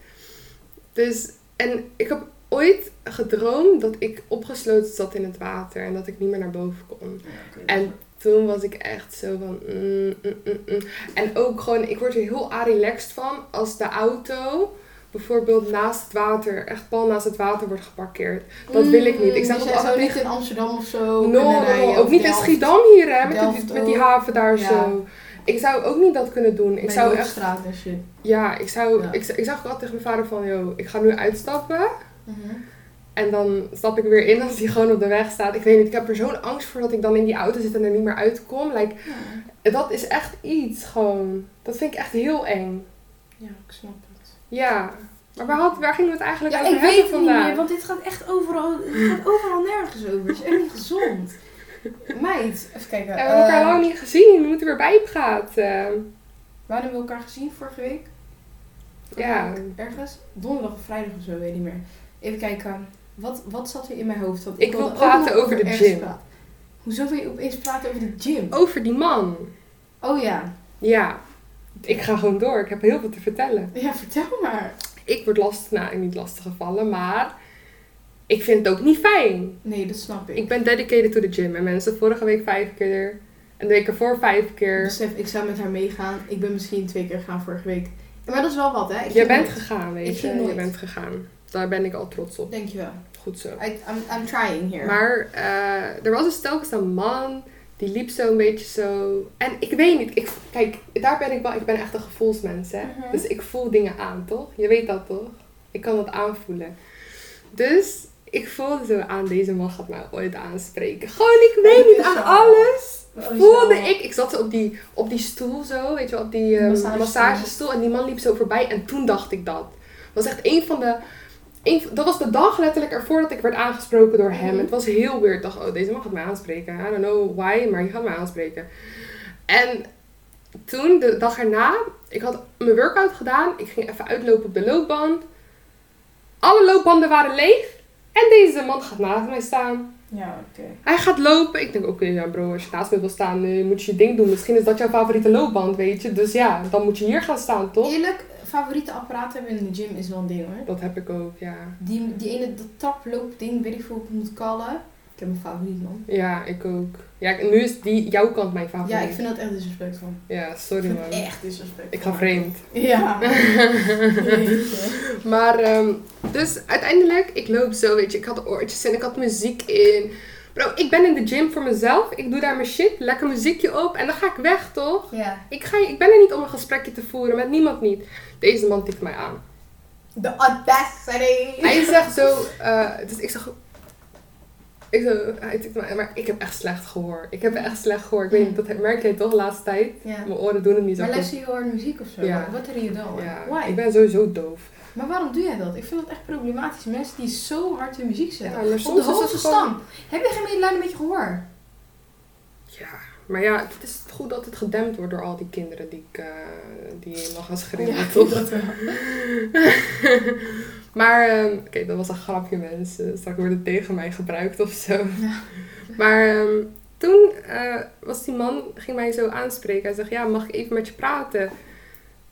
A: Dus, en ik heb ooit gedroomd dat ik opgesloten zat in het water en dat ik niet meer naar boven kon. En toen was ik echt zo van. mm, mm, mm, mm. En ook gewoon, ik word er heel relaxed van als de auto bijvoorbeeld naast het water, echt pal naast het water wordt geparkeerd. Dat wil ik niet. Ik zeg
B: dus
A: ook
B: jij zou
A: altijd-
B: niet in Amsterdam of zo.
A: No,
B: kunnen
A: no,
B: rijden,
A: no,
B: of
A: ook niet in
B: Delft.
A: Schiedam hier, hè, met,
B: Delft
A: die, met die
B: ook.
A: haven daar
B: Ja.
A: zo. Ik zou ook niet dat kunnen doen. Ik
B: Bij
A: zou
B: de
A: echt,
B: straat en shit.
A: ja, ik zou,
B: Ja.
A: Ik, zou- ik zag altijd tegen mijn vader van, yo, ik ga nu uitstappen. Mhm. En dan stap ik weer in als die gewoon op de weg staat. Ik weet niet, ik heb er zo'n angst voor dat ik dan in die auto zit en er niet meer uitkom. Like, dat is echt iets gewoon. Dat vind ik echt heel eng.
B: Ja, ik snap het.
A: Ja. Maar waar, had, waar gingen we het eigenlijk
B: Ja,
A: over
B: ik
A: hebben
B: weet het niet
A: vandaag?
B: meer, want dit gaat echt overal, het gaat overal nergens over. Het is echt niet gezond. Meid, even kijken.
A: En we hebben elkaar
B: eh,
A: lang niet gezien. We moeten weer bijpraten.
B: Waar hebben we elkaar gezien vorige week? Oh,
A: Ja.
B: Ergens? Donderdag of vrijdag of zo, weet niet meer. Even kijken, wat, wat zat er in mijn hoofd? Want
A: Ik wil
B: wilde ook
A: praten
B: nog
A: over de
B: ergens
A: gym.
B: praten. Hoezo wil je opeens praten over de gym?
A: Over die man.
B: Oh ja.
A: Ja. Ik ga gewoon door. Ik heb heel veel te vertellen.
B: Ja, vertel maar.
A: Ik word lastig, nou niet lastig gevallen, maar ik vind het ook niet fijn.
B: Nee, dat snap ik.
A: Ik ben dedicated to the gym. En mensen, vorige week vijf keer. En de week ervoor vijf keer.
B: Besef, ik zou met haar meegaan. Ik ben misschien twee keer gegaan vorige week. Maar dat is wel wat, hè?
A: Je
B: Ik ging
A: bent
B: nooit.
A: gegaan, weet
B: Ik
A: je.
B: ging nooit.
A: Je bent gegaan. Daar ben ik al trots op.
B: Dankjewel.
A: Goed zo.
B: I, I'm, I'm trying here.
A: Maar eh, er was dus telkens een man die liep zo een beetje zo. En ik weet niet, ik, kijk, daar ben ik wel. Ik ben echt een gevoelsmens, hè?
B: Mhm.
A: Dus ik voel dingen aan, toch? Je weet dat toch? Ik kan dat aanvoelen. Dus ik voelde zo aan, deze man gaat mij ooit aanspreken. Gewoon, ik weet
B: Oh,
A: niet,
B: dus
A: aan
B: zo.
A: alles.
B: Oh,
A: Voelde
B: zo.
A: ik, ik zat zo op die, op die stoel zo, weet je wel, op die ehm,
B: Massagestoel.
A: massagestoel. En die man liep zo voorbij en toen dacht ik dat. Dat was echt een van de, een, van- dat was de dag letterlijk ervoor dat ik werd aangesproken door hem.
B: Mhm.
A: Het was heel weird. Ik dacht, oh, deze man gaat mij aanspreken. I don't know why, maar hij gaat mij aanspreken. En toen, de dag erna, ik had mijn workout gedaan. Ik ging even uitlopen op de loopband. Alle loopbanden waren leeg. En deze man gaat naast mij staan.
B: Ja, oké.
A: Hij gaat lopen. Ik denk, oké, ja bro, als je naast me wil staan, eh, moet je je ding doen. Misschien is dat jouw favoriete loopband, weet je. Dus ja, dan moet je hier gaan staan, toch?
B: Eerlijk, favoriete apparaat hebben in de gym is wel een ding hoor.
A: Dat heb ik ook, ja.
B: Die, die ene dat traploopding, weet ik veel hoe ik het moet kallen. Ik heb een favoriet man.
A: Ja, ik ook. Ja, nu is die, jouw kant mijn favoriet.
B: Ja, ik vind dat echt disrespectvol.
A: Ja,
B: Ik
A: sorry
B: vind
A: man.
B: het echt disrespectvol.
A: Ik ga vreemd.
B: Ja. Jeetje.
A: Maar, ehm, dus uiteindelijk, ik loop zo, weet je. Ik had oortjes in, ik had muziek in. Bro, ik ben in de gym voor mezelf. Ik doe daar mijn shit, lekker muziekje op. En dan ga ik weg, toch?
B: ja.
A: Ik, ga, ik ben er niet om een gesprekje te voeren, met niemand niet. Deze man tikt mij aan.
B: De audacity.
A: Hij zegt zo, eh, dus ik zag. Ik zo, hij tikt me aan, maar ik heb echt slecht gehoor. Ik heb echt slecht gehoor. Ik weet niet, dat merk je toch de laatste tijd?
B: Ja.
A: Mijn oren doen het niet zo
B: Maar
A: goed.
B: luister je hoort muziek of zo?
A: Ja.
B: Wat er je dan?
A: Ja,
B: Why?
A: ik ben sowieso doof.
B: Maar waarom doe jij dat? Ik vind dat echt problematisch. Mensen die zo hard hun muziek zetten.
A: Ja, maar
B: Op de
A: soms is
B: hoogste
A: het gewoon-
B: stam. Heb je geen medelijden met je gehoor?
A: Ja, maar ja, het is goed dat het gedempt wordt door al die kinderen die ik eh, die nog gaan schreeuwen, toch? maar, ehm, oké, dat was een grapje mensen. Straks wordt het tegen mij gebruikt of zo. Maar ehm, toen eh, was die man, ging mij zo aanspreken. Hij zegt, ja, mag ik even met je praten?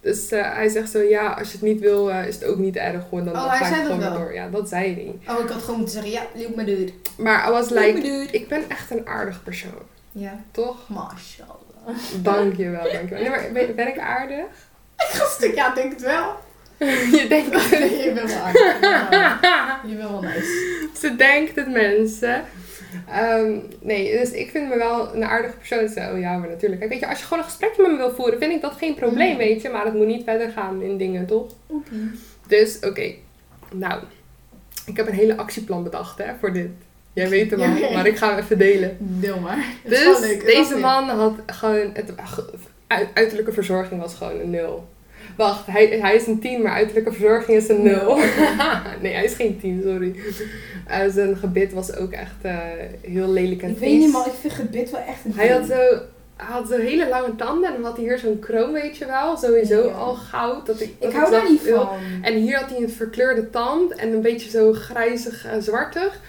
A: Dus eh, hij zegt zo, ja, als je het niet wil, eh, is het ook niet erg hoor. Dan
B: Oh,
A: dan
B: hij
A: ga ik
B: zei dat
A: gewoon weer
B: wel.
A: door. Ja, dat zei hij.
B: Oh, ik had gewoon moeten zeggen, ja, leuk me dude.
A: Maar I was
B: Leuk me
A: like,
B: dude.
A: ik ben echt een aardig persoon,
B: Ja.
A: toch?
B: Mashallah.
A: Dankjewel, dankjewel. Nee, maar ben, ben ik aardig?
B: Gastig, ja, denk het wel.
A: je denkt
B: je bent wel aardig. Ja. Je bent wel nice.
A: Ze denkt het mensen. Ehm, nee, dus ik vind me wel een aardige persoon. Ze zei, oh ja, maar natuurlijk. Kijk, weet je, als je gewoon een gesprekje met me wil voeren, vind ik dat geen probleem,
B: Mm.
A: weet je. Maar het moet niet verder gaan in dingen, toch?
B: Oepie.
A: Dus, oké. Nou, ik heb een hele actieplan bedacht, hè, voor dit. Jij weet hem al,
B: Ja.
A: maar ik ga hem even delen.
B: Deel maar. Het is wel
A: Dus
B: leuk, het was
A: deze
B: leuk.
A: man had gewoon... Het, uit- uiterlijke verzorging was gewoon een nul. Wacht, hij, hij is een 10, maar uiterlijke verzorging is een nul. nee, hij is geen 10, sorry. Eh, zijn gebit was ook echt eh, heel lelijk en
B: Ik
A: vies.
B: weet niet, maar ik vind gebit wel echt een
A: Hij had
B: ding.
A: zo... Hij had zo hele lange tanden en dan had hij hier zo'n kroon, weet je wel. Sowieso
B: Ja.
A: al goud. Dat ik, eh, oh. dat
B: Ik hou
A: dacht,
B: daar niet
A: "Ew."
B: van.
A: En hier had hij een verkleurde tand en een beetje zo grijzig en zwartig.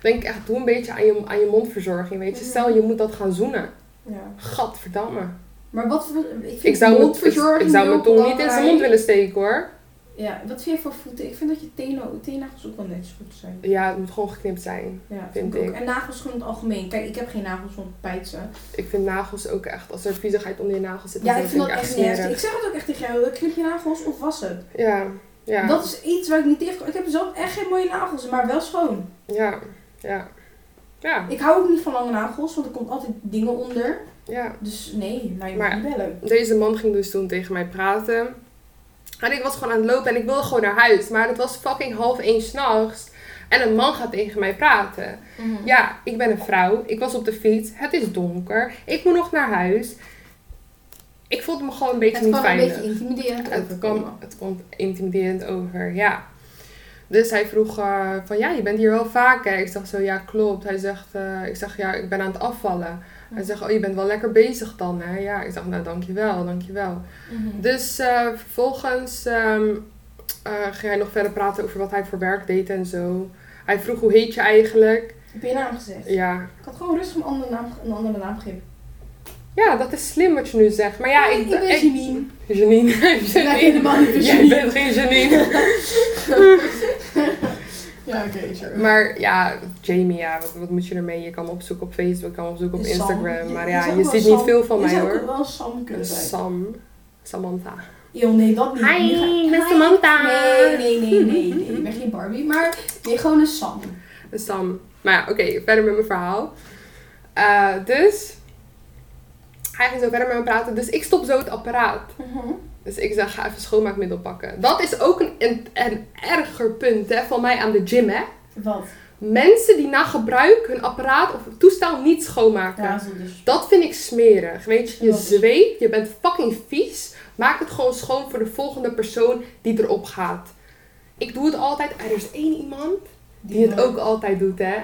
A: Denk ik echt, doe een beetje aan je, aan je mondverzorging, weet je.
B: Mhm.
A: Stel, je moet dat gaan zoenen.
B: Ja.
A: Gadverdamme.
B: Maar wat voor... Ik, vind
A: Ik zou, mijn- ik,
B: mondverzorging
A: ik zou mijn
B: heel
A: tong niet in zijn mond
B: belangrijk.
A: willen steken hoor.
B: Ja, wat vind je voor voeten? Ik vind dat je teno- teennagels ook wel netjes moeten zijn.
A: Ja, het moet gewoon geknipt zijn.
B: Ja,
A: Vind
B: vind ik.
A: ik.
B: ook. En nagels gewoon in het algemeen. Kijk, ik heb geen nagels van pijtsen.
A: Ik vind nagels ook echt, als er viezigheid onder je nagels zit,
B: Ja,
A: dan
B: ik vind dat
A: ik
B: echt niet heftig. Ik zeg het ook echt tegen jou. Knip je nagels of was het?
A: Ja, ja.
B: Dat is iets waar ik niet tegen kan. Ik heb zelf echt geen mooie nagels, maar wel schoon.
A: Ja, ja. Ja,
B: Ik hou ook niet van lange nagels, want er komt altijd dingen onder.
A: ja.
B: Dus nee, nou je
A: Maar-
B: moet niet bellen.
A: Deze man ging dus toen tegen mij praten. En ik was gewoon aan het lopen en ik wilde gewoon naar huis. Maar het was fucking half één s'nachts. En een man gaat tegen mij praten.
B: Mhm.
A: Ja, ik ben een vrouw. Ik was op de fiets. Het is donker. Ik moet nog naar huis. Ik voelde me gewoon een beetje
B: Het
A: niet
B: kan een
A: veilig.
B: beetje intimiderend
A: Het
B: overkomen.
A: kwam, het kwam intimiderend over, ja. Dus hij vroeg eh, van, ja, je bent hier wel vaker. Ik zeg zo, ja, klopt. Hij zegt, eh, ik zeg, ja, ik ben aan het afvallen. Hij zegt, oh, je bent wel lekker bezig dan, hè. Ja, ik zeg, nou, dankjewel, dankjewel.
B: Mhm.
A: Dus eh, vervolgens ehm, eh, ging hij nog verder praten over wat hij voor werk deed en zo. Hij vroeg, hoe heet je eigenlijk?
B: Heb je je naam gezegd?
A: Ja,
B: Ik had gewoon rustig een andere naam, een andere naam gegeven.
A: ja dat is slim wat je nu zegt. Maar ja,
B: Nee,
A: ik...
B: ik ben Janine.
A: Janine.
B: ben helemaal niet een
A: Jij
B: Janine.
A: bent geen Janine.
B: Ja, oké, sure.
A: Maar ja, Jamie, ja, wat, wat moet je ermee? Je kan opzoeken op Facebook, je kan opzoeken op
B: Sam.
A: Instagram. Maar ja,
B: zou
A: je
B: wel
A: ziet niet
B: Sam-
A: veel van
B: je
A: mij
B: zou ook
A: hoor.
B: wel Sam kunnen zijn.
A: Sam. Samantha.
B: Yo, nee, dat niet.
A: Hi,
B: Nu ga-
A: ik ben
B: Hi.
A: Samantha.
B: Nee, nee, nee, nee, nee. Ik ben geen Barbie, maar nee, gewoon een Sam.
A: Sam. Maar ja, oké, verder met mijn verhaal. Eh, dus, hij ging zo verder met me praten. Dus ik stop zo het apparaat. Dus ik zeg, ga even schoonmaakmiddel pakken. Dat is ook een, een, een erger punt hè, van mij aan de gym, hè.
B: Wat?
A: Mensen die na gebruik hun apparaat of toestel niet schoonmaken.
B: Ja, zo dus.
A: Dat vind ik smerig. Weet je, je
B: Klopt.
A: zweet, je bent fucking vies. Maak het gewoon schoon voor de volgende persoon die erop gaat. Ik doe het altijd. Er is één iemand die het ook altijd doet, hè?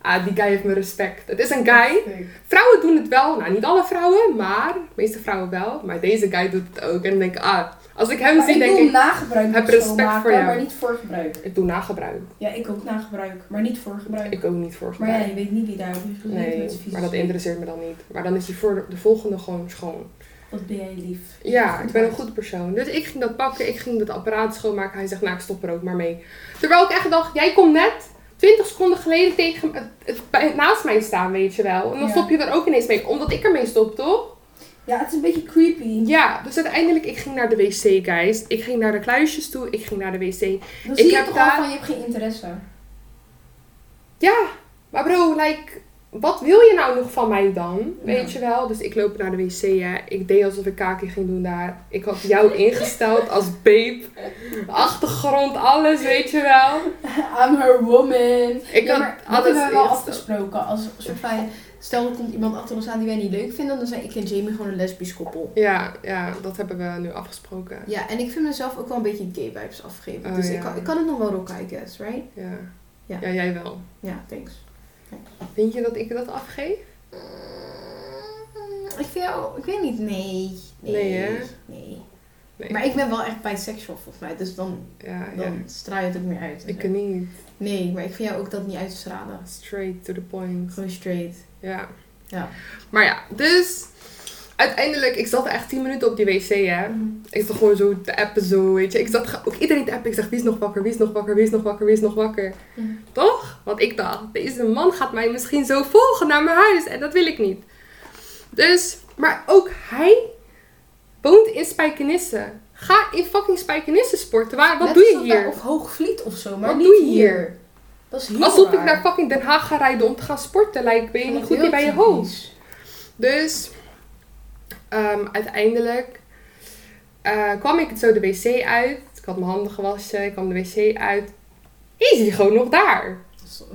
A: Ah, die guy heeft mijn respect. Het is een guy. Vrouwen doen het wel. Nou, niet alle vrouwen, maar de meeste vrouwen wel. Maar deze guy doet het ook. En dan denk ik, ah, als ik hem
B: Maar
A: zie,
B: ik
A: denk
B: doe
A: ik,
B: nagebruik
A: heb
B: heb
A: respect
B: respect
A: voor jou.
B: maar niet voor gebruik.
A: ik doe nagebruik.
B: Ja, ik ook nagebruik, maar niet voor gebruik.
A: Ik ook niet voor
B: maar ja,
A: gebruik.
B: je weet niet wie daarop heeft geleerd
A: Nee,
B: met vies.
A: maar dat interesseert me dan niet. Maar dan is hij voor de- de volgende gewoon schoon.
B: Wat ben jij lief.
A: Ja, ik ben een goed persoon. Dus ik ging dat pakken, ik ging dat apparaat schoonmaken. Hij zegt, nou, ik stop er ook maar mee. Terwijl ik echt dacht, jij komt net 20 seconden geleden tegen, het, het- bij- naast mij staan, weet je wel. En dan
B: Ja.
A: stop je er ook ineens mee, omdat ik ermee stop, toch?
B: Ja, het is een beetje creepy.
A: Ja, dus uiteindelijk, ik ging naar de wc, guys. Ik ging naar de kluisjes toe, ik ging naar de wc.
B: Dan
A: Ik
B: zie je
A: heb
B: toch
A: daar-
B: al van, je hebt geen interesse.
A: Ja, maar bro, like, wat wil je nou nog van mij dan? Weet je wel? Dus ik loop naar de wc, hè. Ik deed alsof ik kaki ging doen daar. Ik had jou ingesteld als babe. Achtergrond, alles, weet je wel.
B: I'm her woman.
A: Ik
B: ja,
A: had
B: maar dat
A: alles
B: hebben we wel
A: eerst-
B: afgesproken. Als een soort van, stel er komt iemand achter ons aan die wij niet leuk vinden, dan zijn ik en Jamie gewoon een lesbisch koppel.
A: Ja, ja, dat hebben we nu afgesproken.
B: Ja, en ik vind mezelf ook wel een beetje gay vibes afgeven.
A: Oh,
B: dus
A: ja.
B: ik, kan, ik kan het nog wel rocken, I guess, right?
A: Ja. Ja.
B: Ja.
A: jij wel.
B: Ja, thanks.
A: Vind je dat ik dat afgeef?
B: Ik vind jou, ik weet niet, nee. Nee,
A: Nee, hè?
B: nee.
A: Nee.
B: Maar ik ben wel echt bisexual volgens mij, dus dan,
A: Ja, ja.
B: dan straal je het ook meer uit. en
A: Ik
B: zo.
A: kan niet.
B: Nee, maar ik vind jou ook dat niet uitstralen.
A: Straight to the point.
B: Gewoon straight.
A: Ja.
B: Ja.
A: Maar ja, dus uiteindelijk, ik zat echt 10 minuten op die wc, hè. Ik zat gewoon zo te appen, zo, weet je. Ik zat ge- ook iedereen te appen. Ik zeg, wie is nog wakker, wie is nog wakker, wie is nog wakker, wie is nog wakker.
B: Mhm.
A: Toch? Want ik dacht, deze man gaat mij misschien zo volgen naar mijn huis. En dat wil ik niet. Dus, maar ook hij woont in Spijkenisse. Ga in fucking Spijkenisse sporten. Waar, wat
B: Net
A: doe je
B: alsof wij-
A: hier?
B: Of hoogvliet of zo, maar
A: Wat
B: niet
A: doe je
B: hier.
A: hier?
B: Dat is heel
A: Alsof ik
B: raar.
A: naar fucking Den Haag ga rijden om te gaan sporten. Like, ben je
B: Ik
A: niet
B: vind
A: goed
B: dat
A: hier bij je
B: heel
A: hoofd?
B: typisch.
A: Dus ehm, uiteindelijk eh, kwam ik zo de wc uit. Ik had mijn handen gewassen, ik kwam de wc uit. Is hij gewoon nog daar?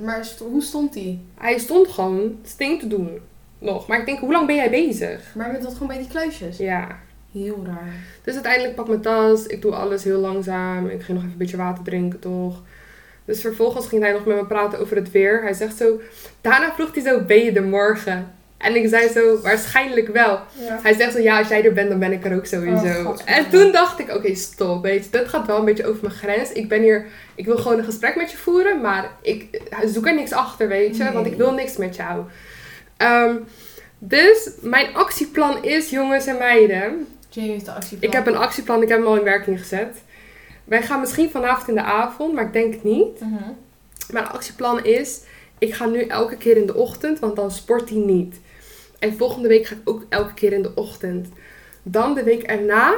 B: Maar st- hoe stond die?
A: Hij stond gewoon sting te doen. Nog. Maar ik denk, hoe lang ben jij bezig?
B: Maar met dat gewoon bij die kluisjes?
A: Ja.
B: Heel raar.
A: Dus uiteindelijk pak ik mijn tas. Ik doe alles heel langzaam. Ik ging nog even een beetje water drinken, toch? Dus vervolgens ging hij nog met me praten over het weer. Hij zegt zo... Daarna vroeg hij zo, ben je er morgen? En ik zei zo, waarschijnlijk wel.
B: Ja.
A: Hij zegt zo, ja, als jij er bent, dan ben ik er ook
B: Oh,
A: sowieso.
B: godverdomme.
A: en toen dacht ik, oké, stop, weet je, dat gaat wel een beetje over mijn grens. Ik ben hier, ik wil gewoon een gesprek met je voeren, maar ik eh, zoek er niks achter, weet je, want
B: Nee.
A: ik wil niks met jou. Ehm, dus mijn actieplan is, jongens en meiden,
B: Jamie heeft de actieplan.
A: ik heb een actieplan, ik heb hem al in werking gezet. wij gaan misschien vanavond in de avond, maar ik denk het niet.
C: Mhm.
A: Mijn actieplan is, ik ga nu elke keer in de ochtend, want dan sport hij niet. En volgende week ga ik ook elke keer in de ochtend. Dan de week erna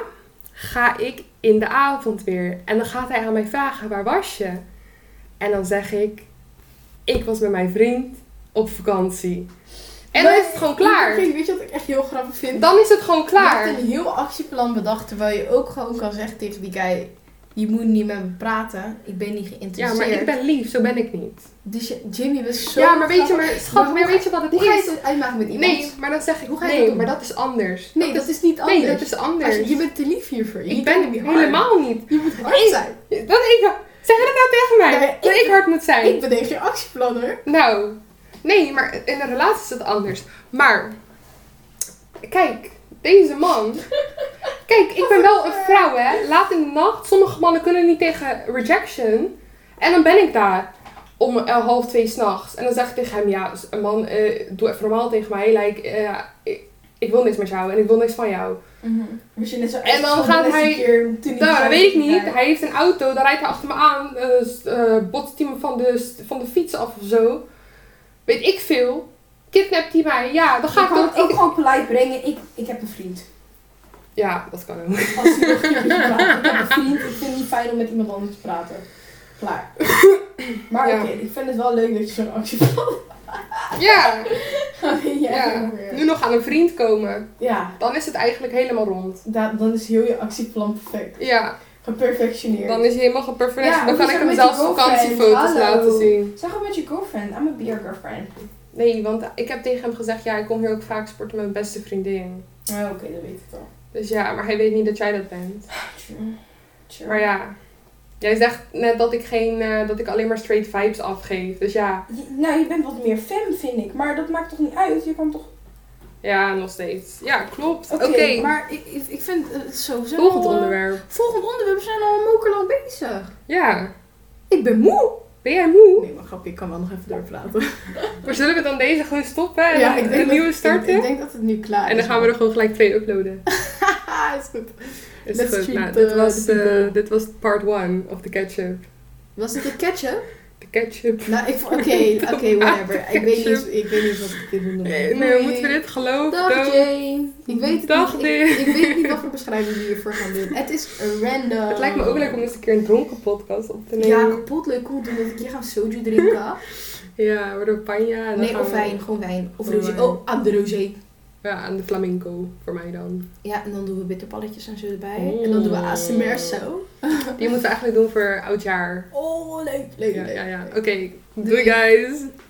A: ga ik in de avond weer. En dan gaat hij aan mij vragen, waar was je? En dan zeg ik, ik was met mijn vriend op vakantie. En dan is het gewoon klaar.
B: Oké, weet je wat ik echt heel grappig vind?
A: Dan is het gewoon
B: Je hebt
A: klaar.
B: een heel actieplan bedacht, terwijl je ook gewoon kan zeggen tegen die guy... Je moet niet met me praten, ik ben niet
A: Ja,
B: geïnteresseerd.
A: maar ik ben lief, zo ben ik niet.
B: Dus je- Jimmy was zo
A: Ja, maar weet je,
B: grappig.
A: maar schat,
B: hoe
A: maar
B: ga-
A: weet je wat het
B: Hoe ga je
A: is?
B: het uitmaken met iemand?
A: Nee, maar dan zeg ik,
B: Hoe ga je dat
A: nee,
B: doen?
A: maar dat is anders.
B: Nee, dat is niet anders.
A: Nee, dat is anders.
B: Als je, je bent te lief hiervoor. Je
A: ik
B: kan
A: ben
B: niet hard.
A: helemaal niet.
B: Je moet hard
A: Nee.
B: zijn.
A: Dat ik, zeg dat nou tegen mij,
B: Nee,
A: dat
B: ik-
A: ik hard moet zijn.
B: Ik bedenk je actieplan hoor.
A: Nou, nee, maar in een relatie is dat anders. Maar, kijk, deze man. Kijk, ik ben wel een vrouw, hè. Laat in de nacht. Sommige mannen kunnen niet tegen rejection. En dan ben ik daar om eh, half twee s'nachts. En dan zeg ik tegen hem, ja, s- man, eh, doe even normaal tegen mij. Like, eh, ik, ik wil niks met jou en ik wil niks van jou.
B: Dus je net zo
A: Mhm. En dan gaat hij- Nou, dat weet ik niet. Hij heeft een auto, daar rijdt hij achter me aan. eh, s- eh, botst hij me van de, s- van de fiets af of zo. Weet ik veel. Kidnapt hij mij. Ja, dan ga ik toch... ik-
C: gewoon polite brengen. Ik, ik heb een vriend.
A: Ja, dat kan ook.
B: Als hij nog een keer met je praat. Ik heb een vriend, ik vind het niet fijn om met iemand anders te praten. Klaar. Maar
A: Ja.
B: oké, ik vind het wel leuk dat je zo'n actieplan
A: Ja,
B: gaat. ja.
A: ja.
B: ongeveer.
A: Nu nog aan een vriend komen.
B: ja.
A: Dan is het eigenlijk helemaal rond.
B: Da- dan is heel je actieplan perfect.
A: Ja,
B: Geperfectioneerd.
A: dan is hij helemaal geperfectioneerd.
C: Ja,
A: dan kan
C: hoezo
A: ik hem
C: met
A: zelfs
C: die girlfriend?
A: vakantiefoto's
C: Hallo.
A: laten zien.
C: Zeg gewoon met je girlfriend. I'm a beer girlfriend.
A: Nee, want ik heb tegen hem gezegd, ja, ik kom hier ook vaak sporten met mijn beste vriendin.
C: Oh, oké, dat weet ik al.
A: Dus ja, maar hij weet niet dat jij dat bent.
C: True. True.
A: Maar ja, jij zegt net dat ik, geen, eh, dat ik alleen maar straight vibes afgeef. Dus ja,
C: Je- nou, je bent wat meer fem, vind ik. Maar dat maakt toch niet uit? Je kan toch...
A: ja, nog steeds. Ja, klopt. Oké,
C: Oké,
B: maar ik, ik ik vind het sowieso...
A: volgend
B: eh,
A: onderwerp.
B: Volgend onderwerp, we zijn al een mokerlang bezig.
A: Ja,
B: Ik ben moe.
A: ben jij moe?
B: Nee, maar grapje, ik kan wel nog even doorpraten.
A: Maar zullen we dan deze gewoon stoppen en dan een nieuwe starten?
B: Ik, ik denk dat het nu klaar is.
A: en dan gaan we er gewoon gelijk twee uploaden.
B: Haha, is goed.
A: Is
B: Let's
A: goed.
B: treat
A: Nou,
B: the-
A: dit, was,
B: the people.
A: eh, dit was part one of de ketchup.
B: Was het de ketchup?
A: De ketchup.
B: Nou, ik vond- oké, oké, whatever. Ik weet, niet, ik weet niet wat ik dit wil noemen.
A: Nee,
B: Doei.
A: moeten we dit geloven?
B: Dag Jane. Ik weet het
A: Dag,
B: niet.
A: Dave.
B: Ik, ik weet niet wat voor beschrijving we hiervoor gaan doen. Het is random.
A: Het lijkt me ook leuk om eens een keer een dronken podcast op te nemen.
B: Ja, kapot leuk om te doen. Want ik hier gaan soju drinken.
A: Ja, we worden panja. en dan
B: Nee,
A: gaan
B: of
A: we-
B: wijn. Gewoon wijn. Of
A: Oh, wijn.
B: rosé. Oh, aan de rosé.
A: Ja, aan de flamenco voor mij dan.
B: Ja, en dan doen we bitterballetjes en zo erbij.
A: Mm.
B: En dan doen we ASMR zo.
A: Die moeten we eigenlijk doen voor oudjaar.
B: Oh, leuk. Leuk,
A: Ja,
B: leuk.
A: ja, ja. Oké, doei guys!